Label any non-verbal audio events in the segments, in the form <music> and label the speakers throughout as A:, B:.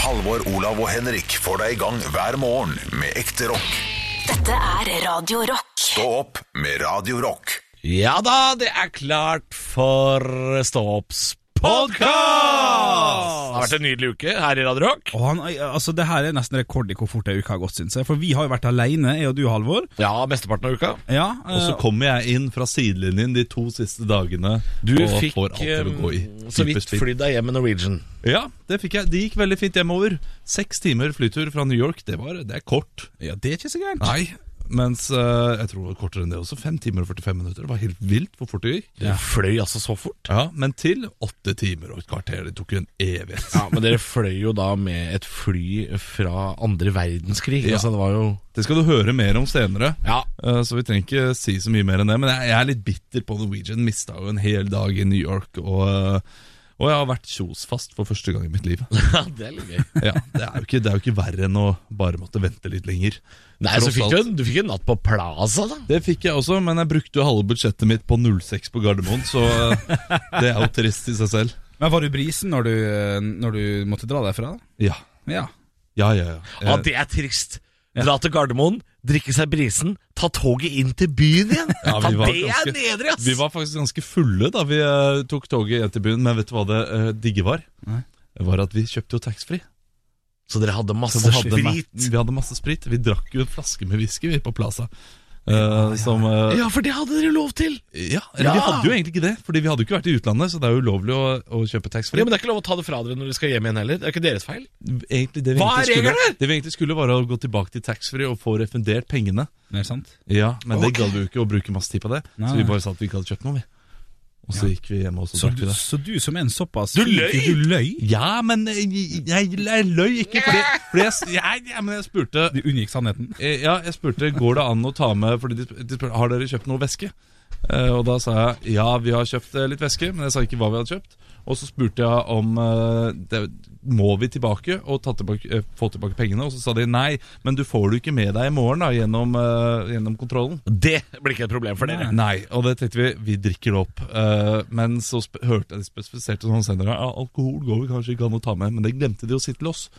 A: Halvor, Olav og Henrik får deg i gang hver morgen med ekte rock.
B: Dette er Radio Rock.
A: Stå opp med Radio Rock.
C: Ja da, det er klart for Stå opps podkast! Det har vært en nydelig uke her i Radio Rock.
D: Og han, altså Det her er nesten rekord i hvor fort ei uke har gått, syns jeg. For vi har jo vært aleine, jeg og du, Halvor.
C: Ja, mesteparten av uka.
D: Ja,
E: Og så
D: eh,
E: kommer jeg inn fra sidelinjen de to siste dagene
C: Du
E: og
C: fikk
E: får alt til å gå i.
C: eh, så vidt
E: Superspeed.
C: flydd deg hjem med Norwegian.
E: Ja, det fikk jeg. Det gikk veldig fint hjemover. Seks timer flytur fra New York, det, var, det er kort.
D: ja, det er ikke så gærent.
E: Nei, mens eh, jeg tror det var kortere enn det også. Fem timer og 45 minutter. Det var helt vilt hvor fort det gikk.
C: Du fløy altså så fort.
E: Ja, Men til åtte timer og et kvarter. Det tok jo en evighet.
C: Ja, Men dere fløy jo da med et fly fra andre verdenskrig.
E: Ja.
C: Altså, det var jo
E: Det skal du høre mer om senere.
C: Ja.
E: Eh, Så vi trenger ikke si så mye mer enn det. Men jeg, jeg er litt bitter på Norwegian. Mista jo en hel dag i New York. Og, eh, og jeg har vært kjosfast for første gang i mitt
C: <laughs>
E: liv.
C: ja, det er litt gøy.
E: Ja, det er, jo ikke, det er jo ikke verre enn å bare måtte vente litt lenger.
C: Nei, så
E: Tross
C: fikk du,
E: alt.
C: en, du fikk en natt på Plaza, da.
E: Det fikk jeg også, men jeg brukte jo halve budsjettet mitt på 06 på Gardermoen, så eh, det er jo trist i seg selv.
D: Men var du brisen når du, eh, når du måtte dra derfra? da?
E: Ja,
D: Ja.
E: ja, ja. Eh, ja.
C: Ja, det er trist. Dra til Gardermoen, drikke seg brisen, ta toget inn til byen igjen.
E: Ja, vi
C: Faen,
E: var
C: det
E: ganske-
C: er nedre, ass!
E: Vi var faktisk ganske fulle da vi eh, tok toget hjem til byen, men vet du hva det eh, digge var?
D: Nei.
E: Det var at vi kjøpte jo taxfree.
C: Så dere hadde masse
E: Så vi hadde ma-
C: sprit?
E: Vi hadde masse sprit. Vi drakk jo en flaske med whisky vi på Plaza. eh, Som eh,
C: Ja, for det hadde dere lov til!
E: Ja, eller vi
C: Ja.
E: hadde jo egentlig ikke det, Fordi vi hadde jo ikke vært i utlandet, så det er jo ulovlig å, å kjøpe taxfree.
C: Ja, Men det er ikke lov å ta det fra dere når dere skal hjem igjen heller. Det er ikke deres feil.
E: egentlig, det vi
C: Hva
E: egentlig
C: er
E: skulle-
C: reglene?
E: Det vi egentlig skulle være å gå tilbake til taxfree og få refundert pengene.
D: Er det sant?
E: Ja, Men det
C: Ok.
E: gadd vi jo ikke å bruke masse tid på det,
D: Nei,
E: så vi
D: nei.
E: bare sa at vi ikke hadde kjøpt noe. vi Og så gikk vi hjem og så,
D: Så,
E: drakk vi
D: du-
E: det.
D: så du som er en såpass
C: Du
D: fin
C: løy!
D: fyr, Du løy?
E: Ja, men jeg, jeg, jeg løy ikke, fordi, fordi jeg, jeg, jeg, men jeg spurte
D: Du unngikk sannheten?
E: Eh, Ja, jeg spurte Går det an å ta med Fordi de, sp- de spurte Har dere kjøpt noe væske? Eh, og da sa jeg Ja, vi har kjøpt eh, litt væske Men jeg sa ikke hva vi hadde kjøpt Og så spurte jeg om eh, det, Må vi tilbake Og ta tilbake, eh, få tilbake pengene Og så sa de Nei, men du får det jo ikke med deg i morgen da Gjennom, eh, gjennom kontrollen
C: Det blir ikke et problem for dere.
E: Nei, og det tenkte vi Vi drikker det opp Eh, Men så sp- hørte jeg de spesifiserte sånn senere ja, Alkohol går vi kanskje ikke an å ta med Men det glemte de å si til oss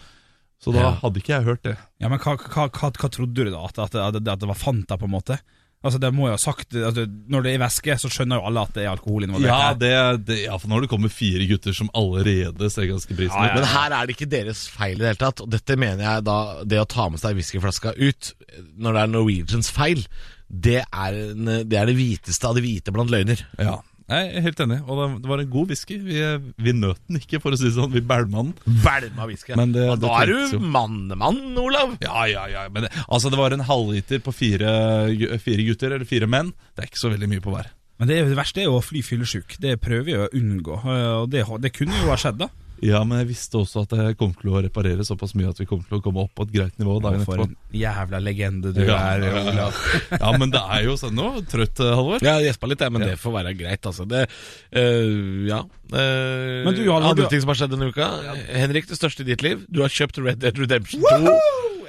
E: Så da
C: Ja.
E: hadde ikke jeg hørt det
D: Ja, men hva, hva, hva, hva trodde du da? At, at, at, at det var Fanta, på en måte? Altså, det må jeg ha sagt altså, Når det er væske, så skjønner jo alle at det er alkohol involvert.
E: Ja,
D: her.
E: det, det, ja, for når det kommer fire gutter som allerede ser ganske prisen
D: Ja, ja,
E: ut.
C: Men her er det ikke deres feil i det hele tatt. Og dette mener jeg da Det å ta med seg whiskyflaska ut når det er Norwegians feil, det er, en, det er det hviteste av det hvite blant løgner.
E: Men- Ja. Jeg er helt enig. Og det, det var en god whisky. Vi, vi nøt den ikke, for å si det sånn. Vi bælma den.
C: Bælma whisky.
E: Men det-
C: Og
E: det
C: Da er
E: tenkes jo.
C: du mannemann, Olav.
E: Ja, ja, ja. Men det, altså, det var en halvliter på fire, gu- fire gutter, eller fire menn. Det er ikke så veldig mye på hver.
D: Men det, er jo- det verste er jo å fly fyllesyk. Det prøver jeg å unngå. Eh, Og det, har- det kunne jo ha skjedd, da.
E: Ja, men jeg visste også at jeg kom til å reparere såpass mye at vi kom til å komme opp på et greit nivå dagen
D: For
E: etterpå.
D: en jævla legende du
E: Ja,
D: er,
E: ja, ja.
D: Olav.
E: ja, men det er jo sånn nå. Trøtt, eh, Halvor?
C: Jeg gjespa litt, jeg, men det får være greit, altså. Det, øh, ja. Øh,
D: Men du, Halvor,
C: Andre
D: du-
C: ting som har skjedd denne uka. Henrik, det største i ditt liv. Du har kjøpt Red Dead Redemption 2.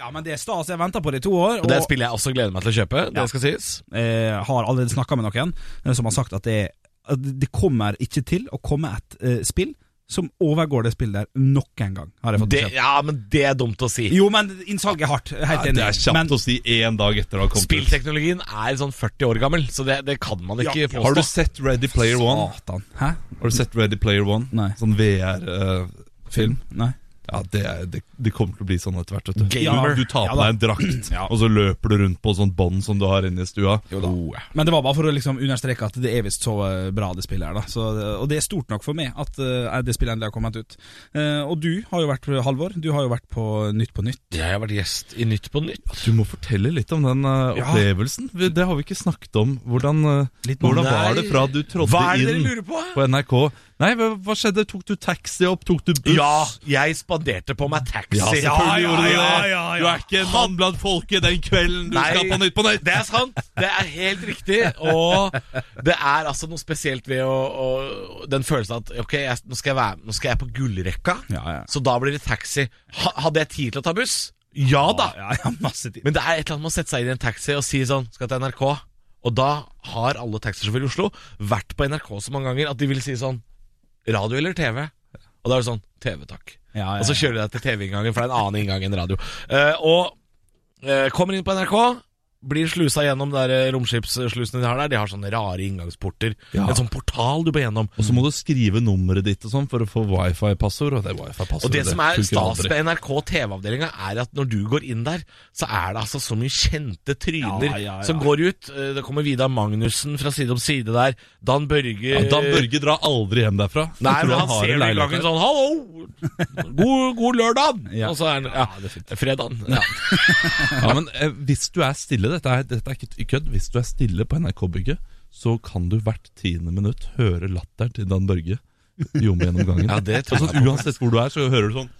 D: Ja, men det er stas. Jeg har venta på det i to år.
C: Og det er
D: Og
C: et spill jeg også gleder meg til å kjøpe. Det skal sies.
D: eh, har allerede snakka med noen eh, som har sagt at det, at det kommer ikke til å komme et eh, spill som overgår det spillet der noen gang, har jeg fått
C: Det,
D: beskjed om.
C: ja, men det er dumt å si.
D: Jo, men innsalget er hardt. Helt
E: Det
D: enig.
E: er kjapt
D: men,
E: å si én dag etter å ha kommet ut.
C: Spillteknologien er sånn 40 år gammel, så det, det kan man ikke
D: Ja.
C: påstå.
E: Har du sett Ready Player One?
D: Satan. Hæ?
E: Har du sett Ready Player One?
D: Nei.
E: Sånn VR-film?
D: Nei.
E: ja, det, er- det, det kommer til å bli sånn etter hvert. Vet du.
C: Gamer.
E: Du tar på
D: Ja
E: deg
D: da.
E: en drakt,
D: Ja.
E: og så løper du rundt på sånn bånd som du har inne i stua.
D: Oh, ja. Men det var bare for å liksom understreke at det er visst så eh, bra det spillet her. Da. Så, eh, og det er stort nok for meg at eh, det spillet endelig har kommet ut. Eh, og du har jo vært, Halvor, du har jo vært på Nytt på Nytt.
C: Jeg har vært gjest i Nytt på Nytt.
E: Du må fortelle litt om den eh,
D: Ja.
E: opplevelsen. Vi- Det har vi ikke snakket om. Hvordan, eh,
D: Litt
E: hvordan
C: Nei.
E: var det fra du trådte
C: Hva er det dere
E: inn
C: lurer på?
E: på NRK? Nei, hva, hva skjedde? Tok du taxi opp? Tok du buss?
C: Ja, jeg spanderte på meg taxi.
E: Ja, selvfølgelig gjorde du det.
C: ja, ja.
E: Du er ikke en mann blant folket den kvelden du
C: Nei.
E: skal på Nytt på Nytt.
C: Det er sant. Det er helt riktig. Og det er altså noe spesielt ved å, å Den følelsen at ok, jeg, nå, skal jeg være, nå skal jeg på gullrekka,
D: Ja, ja.
C: så da blir det taxi. Ha, hadde jeg tid til å ta buss? Ja da.
D: Ja, ja, masse tid.
C: Men det er et eller annet med å sette seg inn i en taxi og si sånn Skal til NRK. Og da har alle taxisjåfører i Oslo vært på NRK så mange ganger at de vil si sånn Radio eller TV? Og da er det sånn TV, takk.
D: Ja, ja,
C: Og så kjører de deg til TV-inngangen, for det er en annen inngang enn radio. Eh, og eh, kommer inn på NRK, blir slusa gjennom der eh, romskipsslusene de har der. De har sånne rare inngangsporter.
E: Ja.
C: En sånn portal du bør gjennom.
E: Og så må du skrive nummeret ditt og sånn for å få wifi-passord. Og det wifi-passord
C: Og det som er
E: funker
C: stas
E: aldri.
C: med NRK TV-avdelinga, er at når du går inn der, så er det altså så mye kjente tryner
D: Ja, ja, ja.
C: som går ut. Eh, Det kommer Vidar Magnussen fra side om side der. Dan Børge
E: ja, Dan Børge drar aldri hjem derfra.
C: Nei,
E: Jeg tror
C: men han
E: har en
C: ser det i
E: leilighet
C: gangen
E: der.
C: sånn 'Hallo! God, god lørdag!'
D: Ja.
C: Og så er han ja, fredagen. Ja.
E: Ja, men eh, hvis du er stille, dette er, dette er ikke kødd, hvis du er stille på NRK-bygget, så kan du hvert tiende minutt høre latteren til Dan Børge ljomme gjennom gangen.
C: <laughs> Ja, det tror
E: Og sånn, uansett hvor du er, så hører du sånn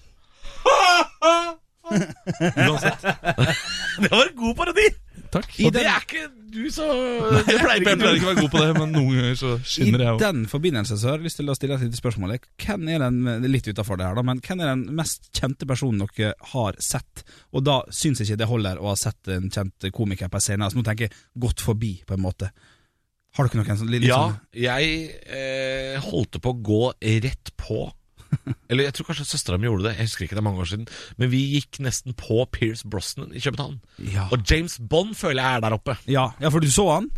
E: Uansett.
C: Det var en god parodi!
E: Takk.
C: Og det er ikke du så Det pleier
E: Jeg
C: ikke
E: pleier
C: du.
E: ikke å være god på det, men noen ganger så
D: I
E: skinner jeg òg.
D: den forbindelse så har jeg lyst til å stille et lite spørsmål. Hvem er den det er litt utenfor det her da, men hvem er den mest kjente personen dere har sett? Og da syns jeg ikke det holder å ha sett en kjent komiker på en scene. Altså, nå tenker jeg gått forbi, på en måte. Har dere noen sånn litt
C: Ja,
D: sånn
C: jeg eh, holdt på å gå rett på.
D: <laughs>
C: Eller jeg tror kanskje søstera mi gjorde det, jeg husker ikke, det er mange år siden. Men vi gikk nesten på Pierce Brosnan i København.
D: sånn- ja.
C: Og James Bond føler jeg er der oppe.
D: ja. ja, for du så han?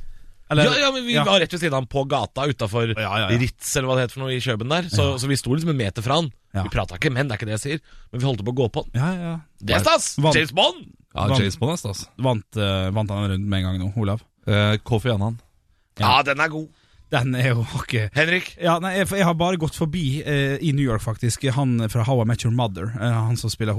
D: Eller-
C: Ja, ja, men Vi var rett ved siden av ham på gata utafor
D: Ja, ja, ja.
C: Ritz eller hva det heter for noe i Kjøben der. Så, så vi sto liksom en meter fra han.
D: Ja.
C: Vi prata ikke, men det er ikke det jeg sier. Men vi holdt på å gå på han.
D: ja, ja.
C: Det er stas!
D: Vant-
C: James Bond!
E: Ja, James Bond er stas.
D: Vant, eh, vant han runden med en gang nå, Olav?
E: Eh, Kofi Annan.
C: Ja,
D: Ja.
C: den er god.
D: Den er jo <laughs> hakket
C: Henrik.
D: Ja, nei, jeg, for jeg har bare gått forbi eh, i New York, faktisk. Han fra How I Met Your Mother. Eh, han som spiller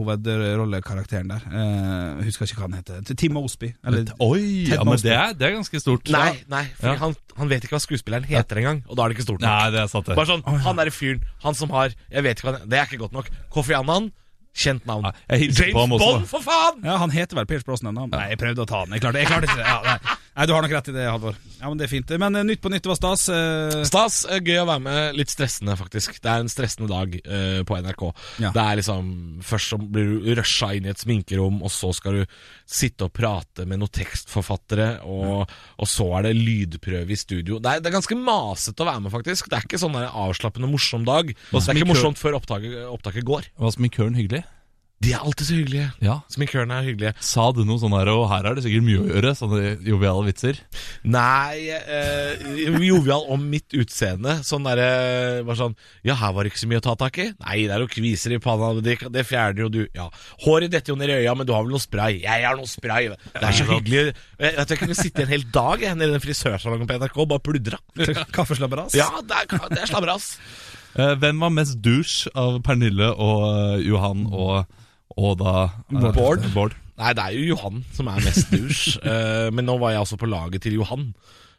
D: hovedrollekarakteren der. Eh, jeg husker ikke hva han heter. Tim Osby. Eller,
E: Oi,
D: Ted
E: ja, men
D: Mosby.
E: det er, det er ganske stort.
C: Nei, nei for
E: Ja.
C: han, han vet ikke hva skuespilleren heter engang, og da er det ikke stort nok.
E: Nei, det er sant, det.
C: Bare sånn, Han derre fyren, han som har Jeg vet ikke hva han Det er ikke godt nok. Kofi Annan, kjent navn.
E: Nei, jeg hilser
C: James
E: på ham også, da.
C: Bond, for faen!
D: ja, han heter vel Pierce Brosnan, da? Nei, jeg prøvde å ta han. Jeg klarte, jeg klarte ikke det. Ja, nei. nei, du har nok rett i det, Halvor. Ja, men det er fint. Men eh, Nytt på nytt var stas.
C: <laughs>
D: Eh,
C: Stas, eh, gøy å være med. Litt stressende, faktisk. Det er en stressende dag eh, på NRK.
D: Ja.
C: Det er liksom Først så blir du rusha inn i et sminkerom, og så skal du sitte og prate med noen tekstforfattere, og, og så er det lydprøve i studio. Det er, det er ganske masete å være med, faktisk. Det er ikke sånn der avslappende morsom dag. Det er
E: sminkør-
C: ikke morsomt før opptaket, opptaket går.
E: Var sminkøren hyggelig?
C: De er alltid så hyggelige.
E: Ja.
C: Sminkørene er hyggelige.
E: Sa du noe sånn her, og her er det sikkert mye å gjøre, sånne joviale vitser?
C: Nei eh, Jovial om mitt utseende. Sånn derre Bare sånn Ja, her var det ikke så mye å ta tak i. Nei, det er jo kviser i panna, men det, det fjerner jo du. Ja. Håret detter jo ned i øya, men du har vel noe spray? Jeg har noe spray. Det er så hyggelig. Jeg, jeg kunne sitte en hel dag jeg, nede i den frisørsalongen på NRK og bare pludra.
D: Kaffeslabberas.
C: Ja, det er, det er slabberas.
E: Eh, hvem var mest douche av Pernille og eh, Johan og, og da eh,
C: Bård.
E: Bård?
C: Nei, det er jo Johan som er mest <laughs> douche. eh, men nå var jeg også på laget til Johan.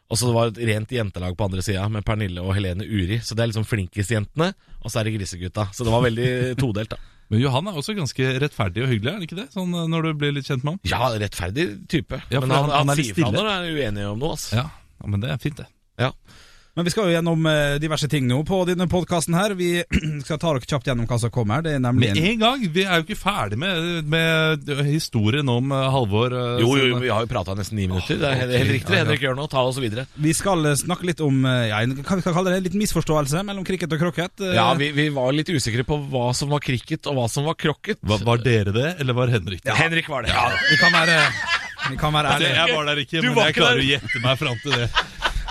C: Og så det var et rent jentelag på andre sida med Pernille og Helene Uri. Så det er liksom flinkisjentene, og så er det grisegutta. Så det var <laughs> veldig todelt, da.
E: Men Johan er også ganske rettferdig og hyggelig, er han ikke det? Sånn eh, når du blir litt kjent med ham?
C: Ja, rettferdig type.
E: Ja, for
C: men han,
E: han- han er
C: han,
E: litt
C: sier fra
E: stille.
C: når han er uenig om noe. Altså.
E: Ja. ja, men det er fint, det.
C: Ja.
D: Men vi skal jo gjennom eh, diverse ting nå på denne podkasten her. Vi <clears throat> skal ta dere kjapt gjennom hva som kommer. Det er nemlig
E: Med en gang! Vi er jo ikke ferdig med, med historien om eh, Halvor. eh,
C: Jo, jo,
E: som-
C: jo, vi har jo prata nesten ni minutter. Det er helt, helt riktig. Henrik gjør noe, ta oss videre.
D: Vi skal eh, snakke litt om eh, ja, hva vi skal kalle det, en liten misforståelse mellom cricket og krokket. Eh,
C: Ja, vi, vi var litt usikre på hva som var cricket, og hva som var krokket.
E: Var, var dere det, eller var Henrik det?
C: Henrik var det.
D: vi kan være, vi kan være
E: Det-
D: ærlige.
E: Jeg var der ikke,
C: Du
E: men
C: var
E: jeg
C: ikke
E: klarer
C: der.
E: å gjette meg fram til det.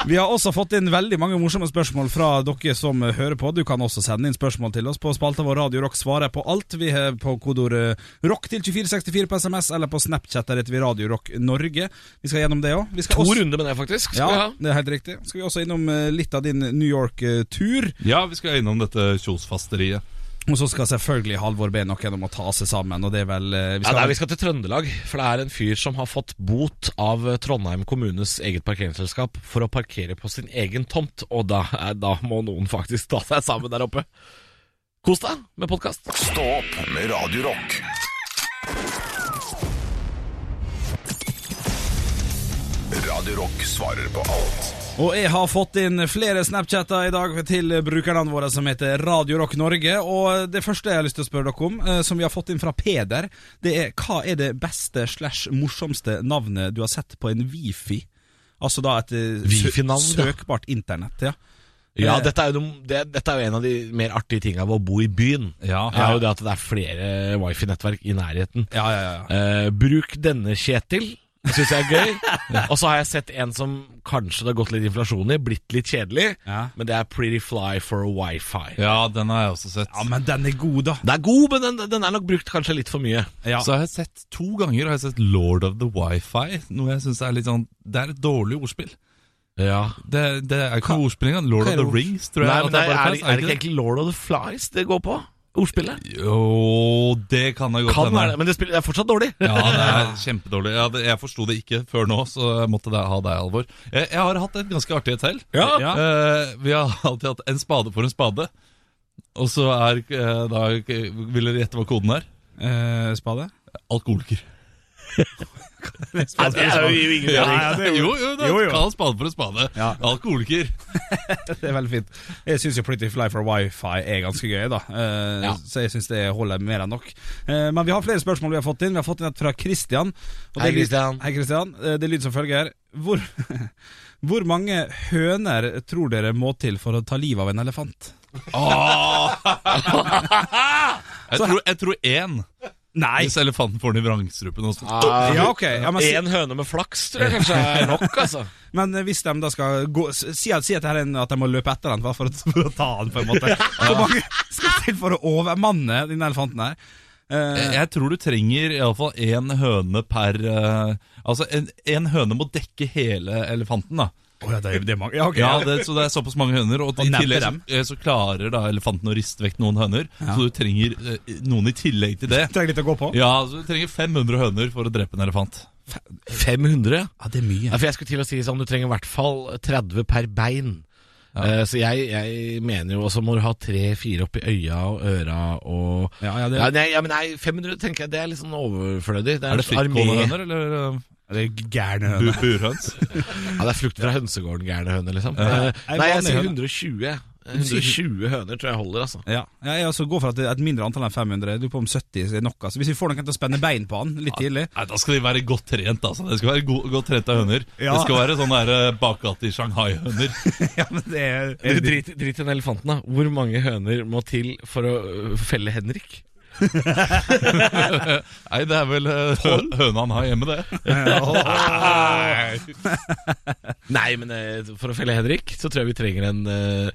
D: Vi har også fått inn veldig mange morsomme spørsmål fra dere som eh, hører på. Du kan også sende inn spørsmål til oss på spalta vår Radio Rock svarer på alt. Vi har på kodeord eh, rock til 2464 på SMS eller på Snapchat der heter vi Radio Rock Norge. Vi skal gjennom det òg.
C: To runder med det, faktisk. Skal vi
D: Ja,
C: ha.
D: det er helt riktig. Skal vi også innom eh, litt av din New eh, York-tur.
E: Ja, vi skal innom dette kjosfasteriet.
D: Og så skal selvfølgelig Halvor be noen om å ta seg sammen, og det er vel eh,
C: Ja, nei, Vi skal til Trøndelag, for det er en fyr som har fått bot av eh, Trondheim kommunes eget parkeringsselskap for å parkere på sin egen tomt, og da, eh, da må noen faktisk ta seg sammen der oppe. Kos deg med podkast.
A: Stå opp med Radio Rock. Radio Rock svarer på alt.
D: Og jeg har fått inn flere Snapchatter i dag til brukerne våre som heter Radio Rock Norge. Og det første jeg har lyst til å spørre dere om, eh, som vi har fått inn fra Peder, det er hva er det beste slash morsomste navnet du har sett på en wifi? Altså da et eh, sø-
C: Wifi-navn, ja.
D: søkbart internett, ja.
C: Ja, dette er, jo de, det, dette er jo en av de mer artige tingene ved å bo i byen.
D: Ja.
C: Det er jo det at det er flere wifi-nettverk i nærheten.
D: Ja, ja, ja.
C: Eh, bruk denne, Kjetil. Det syns jeg er gøy.
D: <laughs>
C: Og så har jeg sett en som kanskje det har gått litt inflasjon i, blitt litt kjedelig,
D: Ja.
C: men det er Pretty Fly for Wifi.
E: Ja, den har jeg også sett.
D: Ja, men den er god, da.
C: Det er god, men den, den er nok brukt kanskje litt for mye.
D: Ja.
E: Så har jeg sett to ganger har jeg sett Lord of the Wifi. Noe jeg synes er litt sånn Det er et dårlig ordspill.
C: Ja.
E: Det, det er ikke noe ordspill engang. Lord
D: hva
E: of
D: er
E: the
D: ord-
E: Rings, tror jeg.
C: Nei,
E: at
C: men det er,
E: bare
C: er, det-
E: kalles.
C: er det ikke egentlig Lord of the Flies det går på? Ordspillet?
E: Jo, det kan jeg godt
C: Kan
E: hende.
C: være det, men det, spiller, det er fortsatt dårlig.
E: Ja, det er kjempedårlig. Jeg, hadde- jeg forsto det ikke før nå, så jeg måtte da ha deg, Alvor. Jeg, jeg har hatt et ganske artig et selv.
D: Ja.
E: Eh, vi har alltid hatt en spade for en spade. Og så er eh, da Vil dere gjette hva koden er?
D: Eh, spade?
E: Alkoholiker.
C: Nei, det er jo ingen
E: jo, jo, det
D: Jo, jo.
E: kall en spade for en spade.
D: Ja.
E: Alkoholiker.
D: Det er veldig fint. Jeg syns jo Pretty Fly for Wifi er ganske gøy, da. Eh,
C: Ja.
D: Så jeg syns det holder mer enn nok. Eh, men vi har flere spørsmål vi har fått inn. Vi har fått inn et fra Christian.
C: Hei,
D: Og det er lyd-
C: Christian.
D: Hei, Christian. Eh, Det lyder som følger. Hvor, <laughs> hvor mange høner tror dere må til for å ta livet av en elefant?
E: Jeg tror- jeg tror én,
D: Nei! Ah,
E: hvis elefanten får den i vrangstrupen. Også.
D: Ja, ok. Ja, men, si,
C: En høne med flaks tror jeg kanskje er nok, altså.
D: men hvis de da skal gå s- Si, at- si at, det her er en, at de må løpe etter den hva, for, å- for å ta den, på en
C: <laughs>
D: måte. Hvor mange skal til for å overmanne denne elefanten her?
E: Jeg,
D: Eh,
E: jeg tror du trenger iallfall én høne per eh, Altså, en, en høne må dekke hele elefanten, da.
D: Å ja, det er, det er mange. Ja, ok.
E: Ja, det, så det er såpass mange høner, og, i
D: neppe
E: tillegg så,
D: dem.
E: eh, så klarer da elefanten å riste vekk noen høner. Så du trenger eh, noen i tillegg til det.
D: <laughs> Trenger litt å gå på.
E: Ja, så du trenger 500 høner for å drepe en elefant.
C: 500?
D: Ja, det er mye.
C: Ja, for jeg skulle til å si sånn, du trenger i hvert fall 30 per bein. Eh, så jeg, jeg mener jo Og så må du ha tre-fire oppi øya og øra og
D: Ja, ja, det,
C: ja, nei, ja, men nei, 500 tenker jeg det er litt sånn overflødig. Det
E: Er
C: er,
E: det
C: en armé.
E: frittgående høner, eller eh,
D: det er gærne
E: bu
D: høne.
E: burhøns?
C: Ja, det er frukt fra hønsegården, gærne høne, liksom. Eh,
D: Ja.
C: nei, jeg
D: vanlig
C: sier
D: høne.
C: 120. 120 høner tror jeg holder, altså.
D: Ja, ja, jeg også går for at det er et mindre antall enn 500. Jeg Lurer på om 70 er nok. Altså. Hvis vi får noen til å spenne bein på han litt tidlig
E: Nei, Da skal de være godt trent, altså. Det skal være go godt trente høner.
D: Ja.
E: Det skal være sånn der, eh, bakgate i Shanghai-høner.
D: <laughs>
E: <laughs>
D: Ja, men det er,
C: Du, drit, drit i den elefanten, da. Hvor mange høner må til for å øh, felle Henrik?
E: Nei, det er vel eh, hø høna han har hjemme, det.
D: <laughs>
C: Nei, men eh, for å felle Henrik, så tror jeg vi trenger en øh,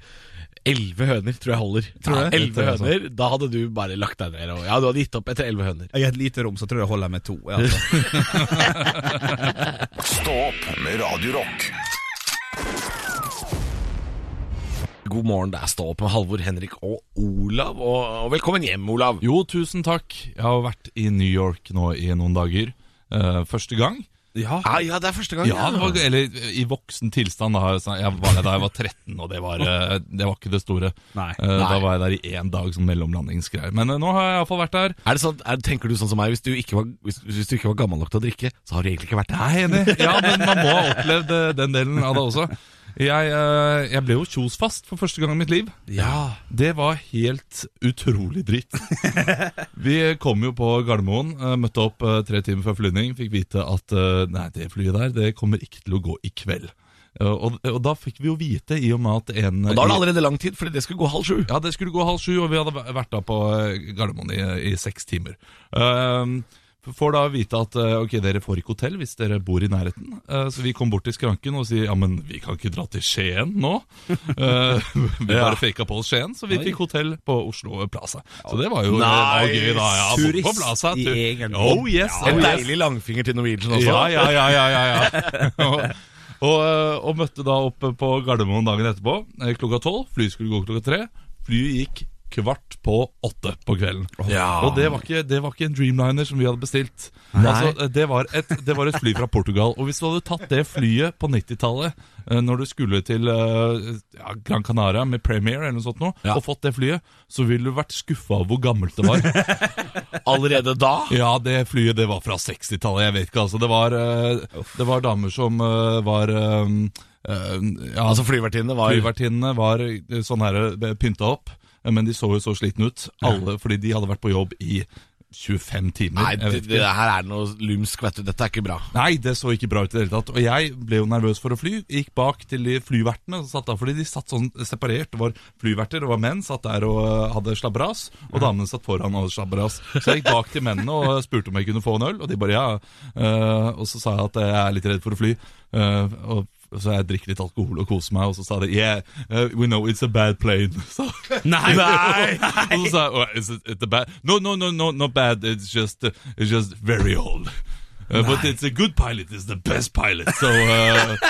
C: Elleve høner tror jeg holder.
E: Det
D: Tror du det?
E: tror
C: Elleve altså.
E: jeg også.
C: høner, Da hadde du bare lagt deg ned. Og, ja, du hadde gitt opp etter elleve høner.
D: I et lite rom så tror jeg jeg holder med to. ja, Altså.
A: Stå opp med Radio Rock.
C: God morgen, det er Stå opp med Halvor, Henrik og Olav. Og, og velkommen hjem, Olav.
E: Jo, tusen takk. Jeg har vært i New York nå i noen dager. Eh, første gang.
D: Ja.
C: Ja, ja, det er første gang.
E: Ja, det var, eller i voksen tilstand. Da, Så jeg var der da jeg var 13, og det var, eh, det var ikke det store.
D: Nei.
E: Eh, Da var jeg der i én dag som mellomlandingsgreier. Men eh, nå har jeg iallfall vært der.
C: Er det sånn, er, tenker du sånn som meg, hvis du, ikke var, hvis, hvis du ikke var gammel nok til å drikke, så har du egentlig ikke vært der?
E: Nei, enig. Ja, men man må ha opplevd eh, den delen av det også. Jeg, eh, jeg ble jo kjosfast for første gang i mitt liv.
D: Ja.
E: Det var helt utrolig
C: <laughs>
E: dritt. Vi kom jo på Gardermoen, eh, møtte opp eh, tre timer før flyvning, fikk vite at eh, nei, det flyet der det kommer ikke til å gå i kveld. Eh, Og, og da fikk vi jo vite, i og med at en
C: Og da er det allerede lang tid, fordi det skulle gå halv sju.
E: Ja, det skulle gå halv sju, og vi hadde væ- vært da på eh, Gardermoen i, i seks timer. Ehm, får da vite at eh, ok, dere får ikke hotell hvis dere bor i nærheten. Eh, så vi kom bort til skranken og sier ja, men vi kan ikke dra til Skien nå. Eh, vi bare faka på oss Skien, så vi fikk hotell på Oslo Plaza. Så det var jo det var
C: Nice.
E: gøy, da. Ja, på- på
D: Turist
E: Plaza.
D: i
E: tur-
D: egen
E: Oh yes,
C: En
E: oh, yes.
C: deilig langfinger til Norwegian også.
E: Ja, ja, ja, ja, ja, <laughs> ja. og, og, eh, og møtte da opp på Gardermoen dagen etterpå eh, klokka tolv. Flyet skulle gå klokka tre. Flyet gikk kvart på åtte på kvelden.
C: Ja.
E: Og det var, ikke, det var ikke en Dreamliner som vi hadde bestilt. Altså, eh, det, var et, det var et fly fra Portugal. Og hvis du hadde tatt det flyet på 90-tallet, eh, når du skulle til eh, ja, Gran Canaria med Premier eller noe sånt, nå, og fått det flyet, så ville du vært skuffa over hvor gammelt det var.
C: Allerede da?
E: Ja, det flyet det var fra 60-tallet. Jeg vet ikke, altså. Det var, eh, det var damer som eh, var eh, eh, ja,
C: Altså flyvertinnene var
E: Flyvertinnene var eh, sånn her eh, pynta opp, eh, men de så jo så slitne ut. Alle fordi de hadde vært på jobb i 25 timer.
C: Nei,
E: jeg
C: det,
E: vet
C: det
E: ikke.
C: her er noe lumsk, vet du. Dette er ikke bra.
E: Nei, det så ikke bra ut i det hele tatt. Og jeg ble jo nervøs for å fly. Gikk bak til de flyvertene, som satt der, fordi de satt sånn separert. Det var flyverter, det var menn, satt der og eh, hadde slabberas. Og damene satt foran og hadde slabberas. Så jeg gikk bak til mennene og spurte om jeg kunne få en øl, og de bare ja. Eh, og så sa jeg at jeg er litt redd for å fly. eh, og så jeg drikker litt alkohol og koser meg, og så sa de yeah, eh, we know it's a bad plane. <laughs> Så,
D: Nei!
E: og så sa jeg oh, is it, it's a bad No, no, no, no, not bad. It's just, it's just very old. Uh, but it's a good pilot. It's the best pilot. So uh, <laughs>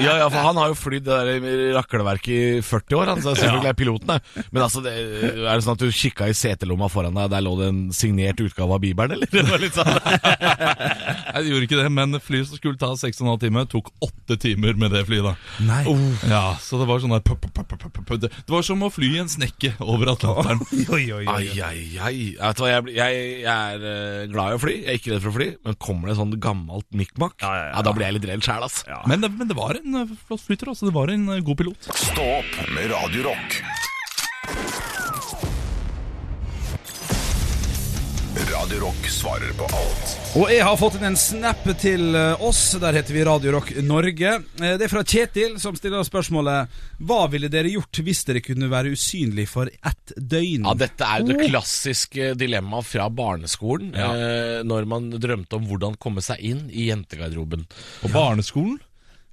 C: Ja, ja, for han har jo flydd det der rakleverket i 40 år, han, så selvfølgelig er piloten der. Men altså, det, er det sånn at du kikka i setelomma foran deg, der lå det en signert utgave av Bibelen, eller? Det var litt
E: <laughs>
C: sånn
E: jeg gjorde ikke det, men flyet som skulle ta 6,5 timer, tok 8 timer med det flyet. da
D: Nei.
E: Ja, Så det var sånn der pop, pop, pop, pop, pop, pop. Det det var som å fly i en snekke over Atlanteren.
D: Oi, oi, oi.
C: Ai, ai, ai. Jeg Vet du hva, jeg, blir- jeg, jeg er eh, glad i å fly, jeg er ikke redd for å fly, men kommer det sånn gammelt mikk-makk, ja, da blir jeg litt redd altså. sjæl, ass.
E: Men, det- men det var en eh, flott flyter. Altså, det var en eh, god pilot.
A: Stå opp med Radio Rock. Radio Rock svarer på alt.
D: Og jeg har fått inn en snap til eh, oss. Der heter vi Radio Rock Norge. Eh, Det er fra Kjetil, som stiller spørsmålet Hva ville dere gjort hvis dere kunne være usynlig for ett døgn?
C: Ja, dette er jo det klassiske dilemmaet fra barneskolen, eh, når man drømte om hvordan komme seg inn i jentegarderoben.
E: På barneskolen.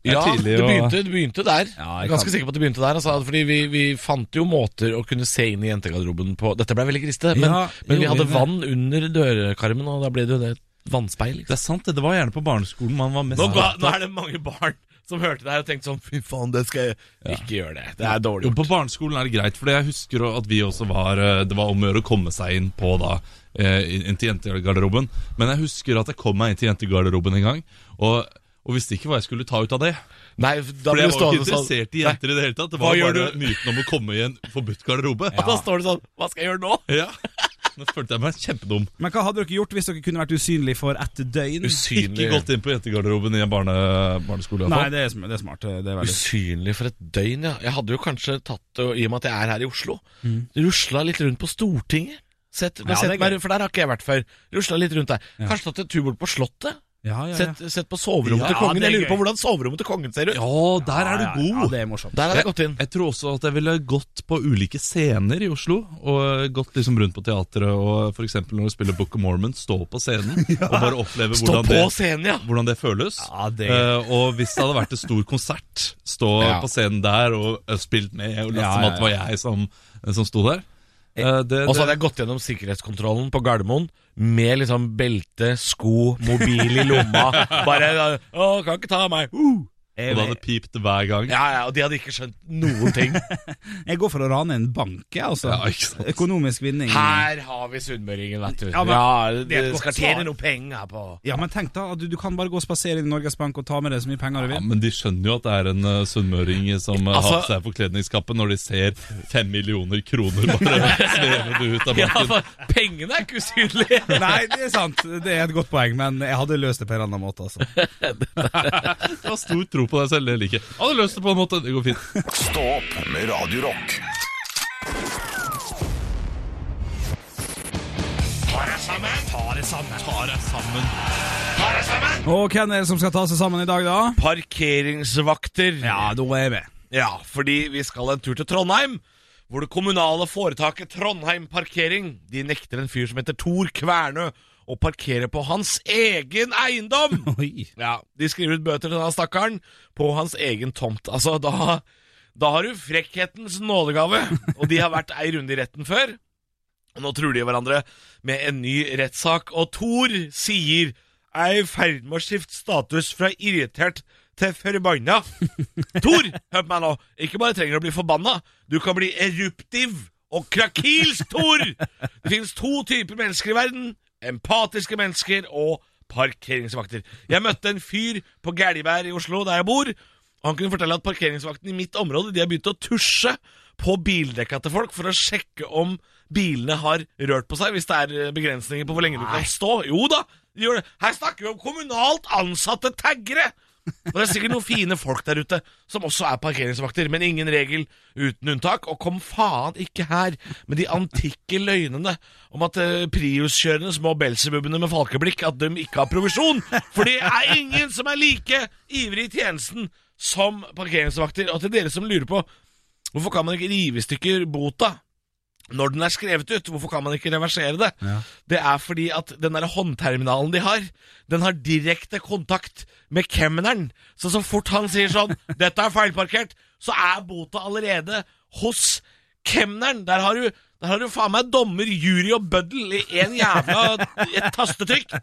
E: Det er
C: Ja, det
E: tidlig å-
C: begynte, det begynte der.
D: Ja,
C: jeg
D: jeg
C: er ganske
D: kan-
C: sikker på at det begynte der. Altså, fordi vi, vi fant jo måter å kunne se inn i jentegarderoben på Dette ble veldig griste, men,
D: Ja,
C: men vi
D: jo,
C: hadde
D: det-
C: vann under dørkarmen, og da ble det jo det et vannspeil.
E: Det er sant, det. Det var gjerne på barneskolen man var mest
C: Nå, ga,
E: opptatt-
C: nå er det mange barn som hørte det her og tenkte sånn Fy faen, det skal jeg ikke gjøre. det Det er dårlig
E: Jo,
C: gjort.
E: på barneskolen er det greit, for jeg husker at vi også var eh, Det var om å gjøre å komme seg inn på da eh, Inn til jentegarderoben. Men jeg husker at jeg kom meg inn til jentegarderoben en gang, og, og visste ikke hva jeg skulle ta ut av det.
C: Nei, da blir det
E: For jeg var jo ikke
C: stående sånn
E: interessert i jenter i det hele tatt. Det
C: Hva
E: var
C: gjør
E: bare
C: du?
E: myten om å komme i en forbudt garderobe.
C: Da står det sånn Hva skal jeg gjøre nå?
E: Ja. Nå følte jeg meg kjempedum.
D: Men hva hadde dere gjort hvis dere kunne vært usynlig for ett døgn?
E: Ikke gått inn på jentegarderoben i en barne, barneskole. i hvert
D: Nei,
E: fall.
D: det er, sm- det er smart. Det er veldig
C: Usynlig for et døgn, ja. Jeg hadde jo kanskje tatt det, og i og med at jeg er her i Oslo, rusla litt rundt på Stortinget. Sett,
D: Ja,
C: sett
D: det er
C: meg, rundt, for der har ikke jeg vært før. Rusla litt rundt der. Kanskje tatt en tur bort på Slottet.
D: Ja, ja, ja.
C: Sett, sett på soverommet
D: Ja,
C: til kongen.
D: det er
C: Jeg lurer på
D: gøy.
C: hvordan soverommet til kongen ser ut.
E: Ja, der er du god!
D: Ja, ja, det er morsomt.
C: Der hadde jeg gått inn.
E: Jeg tror også at jeg ville gått på ulike scener i Oslo, og gått liksom rundt på teatret og eh, for eksempel når du spiller Book of Mormon, stå på
C: <laughs>
E: scenen og bare oppleve
C: Stå
E: hvordan
C: på
E: det,
C: scenen, ja!
E: hvordan det føles.
D: Ja, det-
E: Eh, og hvis det hadde vært en stor konsert, stå
C: <laughs> Ja.
E: på scenen der og eh, spilt med og late
D: Ja,
E: som
D: ja,
E: at det var jeg som, som sto der. Eh, det,
C: Og så
E: det,
C: hadde jeg gått gjennom sikkerhetskontrollen på Gardermoen med liksom belte, sko, mobil i
D: <laughs>
C: lomma. Bare Å, kan ikke ta meg! Uh.
E: og det hadde pipt hver gang.
C: Ja, ja, Og de hadde ikke skjønt noen ting.
D: <laughs> Mm. Jeg går for å rane en bank, jeg, altså.
E: Ja, ikke sant.
D: Økonomisk vinning.
C: Her har vi sunnmøringen, vet du.
D: Ja, men- det er et
C: du
D: godt
C: skal
D: svar.
C: tjene noe penger på
D: Ja, men tenk da, at du, du kan bare gå og spasere inn i Norges Bank og ta med deg så mye penger du
E: Ja,
D: vil.
E: Men de skjønner jo at det er en eh, sunnmøring som eh, har
C: Altså-
E: på seg forkledningskappen når de ser fem millioner
C: <laughs>
E: kroner bare svevende ut av banken.
C: pengene er ikke usynlige!
D: <laughs> Nei, det er sant. Det er et godt poeng, men jeg hadde løst det på en annen måte, altså.
E: Jeg har stor tro på deg selv, det liker jeg. Jeg Hadde løst det på en måte, det går fint.
A: Stå opp med Radio Rock.
D: Og hvem er det som skal ta seg sammen i dag, da?
C: Parkeringsvakter.
D: da er jeg med.
C: ja, fordi vi skal en tur til Trondheim. Hvor det kommunale foretaket Trondheim Parkering De nekter en fyr som heter Tor Kvernø å parkere på hans egen eiendom!
D: <laughs> Oi.
C: Ja, De skriver ut bøter til denne stakkaren på hans egen tomt. Altså, da, da har du frekkhetens nådegave. Og de har vært ei runde i retten før. Og nå truer de hverandre med en ny rettssak. Og Thor sier er i ferd med å skifte status fra irritert til forbanna. Thor, hør på meg nå. Ikke bare trenger du å bli forbanna, du kan bli eruptiv og krakilsk, Thor! Det finnes to typer mennesker i verden. Empatiske mennesker og parkeringsvakter. Jeg møtte en fyr på Gælliberg i Oslo, der jeg bor. og Han kunne fortelle at parkeringsvakten i mitt område De har begynt å tusje på bildekka til folk for å sjekke om bilene har rørt på seg, hvis det er eh, begrensninger på hvor lenge du kan stå. Jo da, de gjør det. Her snakker vi om kommunalt ansatte taggere! Og det er sikkert noen fine folk der ute som også er parkeringsvakter, men ingen regel uten unntak. Og kom faen ikke her med de antikke løgnene om at eh, Prius-kjørende små Belzebubene med falkeblikk at de ikke har provisjon. For det er ingen som er like ivrig i tjenesten som parkeringsvakter. Og til dere som lurer på hvorfor kan man ikke rive i stykker bota når den er skrevet ut, hvorfor kan man ikke reversere det?
D: Ja.
C: Det er fordi at den der håndterminalen de har, den har direkte kontakt med kemneren. Så så fort han sier sånn <laughs> 'Dette er feilparkert', så er bota allerede hos kemneren. Der har du der har du faen meg dommer, jury og bøddel i én jævla et tastetrykk.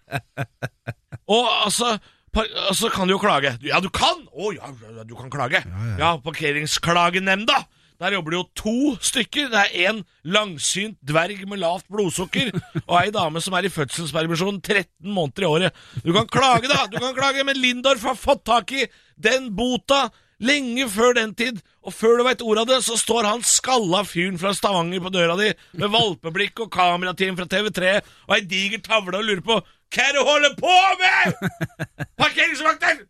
C: Og altså par, altså kan du jo klage. Du- Ja, du kan! Å ja, ja, ja, du kan klage. Ja, Parkeringsklagenemnda. Der jobber det jo to stykker. Det er en langsynt dverg med lavt <laughs> blodsukker og ei dame som er i fødselspermisjon 13 måneder i året. Du kan klage, da! Du kan klage, men Lindorf har fått tak i den bota lenge før den tid. Og før du veit ordet av det, så står han skalla fyren fra Stavanger på døra di med valpeblikk og kamerateam fra TV3 og ei diger tavle og lurer på hva er det du holder på med?! <laughs> Parkeringsvakter!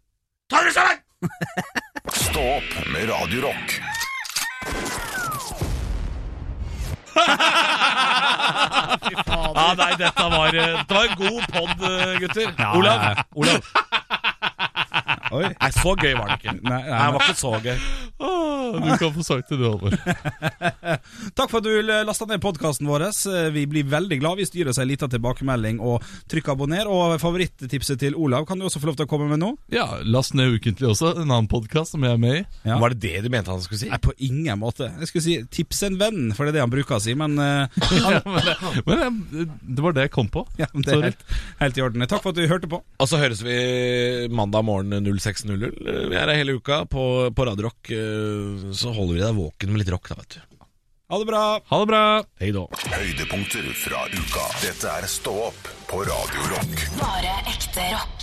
C: Ta dere sammen!
A: Stå opp med Radio Rock.
C: Ja, nei, dette var, eh, dette var en god pod, eh, gutter.
D: Ja,
C: Olav,
D: ja, ja.
C: Olav.
D: Oi.
C: Nei, så gøy var det ikke.
D: Nei, nei,
C: det var ikke så gøy.
E: Åh, Ah, du kan få sagt det, du, Halvor.
D: Takk for at du lasta ned podkasten vår. Eh, Vi blir veldig glad hvis du gir oss ei lita tilbakemelding og trykk abonner. Og favorittipset til Olav kan du også få lov til å komme med nå.
E: Ja, last ned ukentlig også. En annen podkast som jeg er med i.
D: Ja.
C: Var det det du mente han skulle si?
D: Nei, på ingen måte. Jeg skulle si 'tips en venn', for det er det han bruker å si, men eh, <laughs>
E: Ja, men det, men det, det var det jeg kom på.
D: ja, det er
E: Sorry.
D: helt, helt i orden. Takk for at du hørte på.
C: Og så høres vi mandag morgen 06.00. Vi er her hele uka på, på Radio Rock. eh, Så holder vi deg våken med litt rock, da, vet du.
D: Ha det bra.
E: Ha det bra!
C: Hei da.
A: Høydepunkter fra uka. Dette er Stå opp på Radio Rock.
B: Bare ekte rock.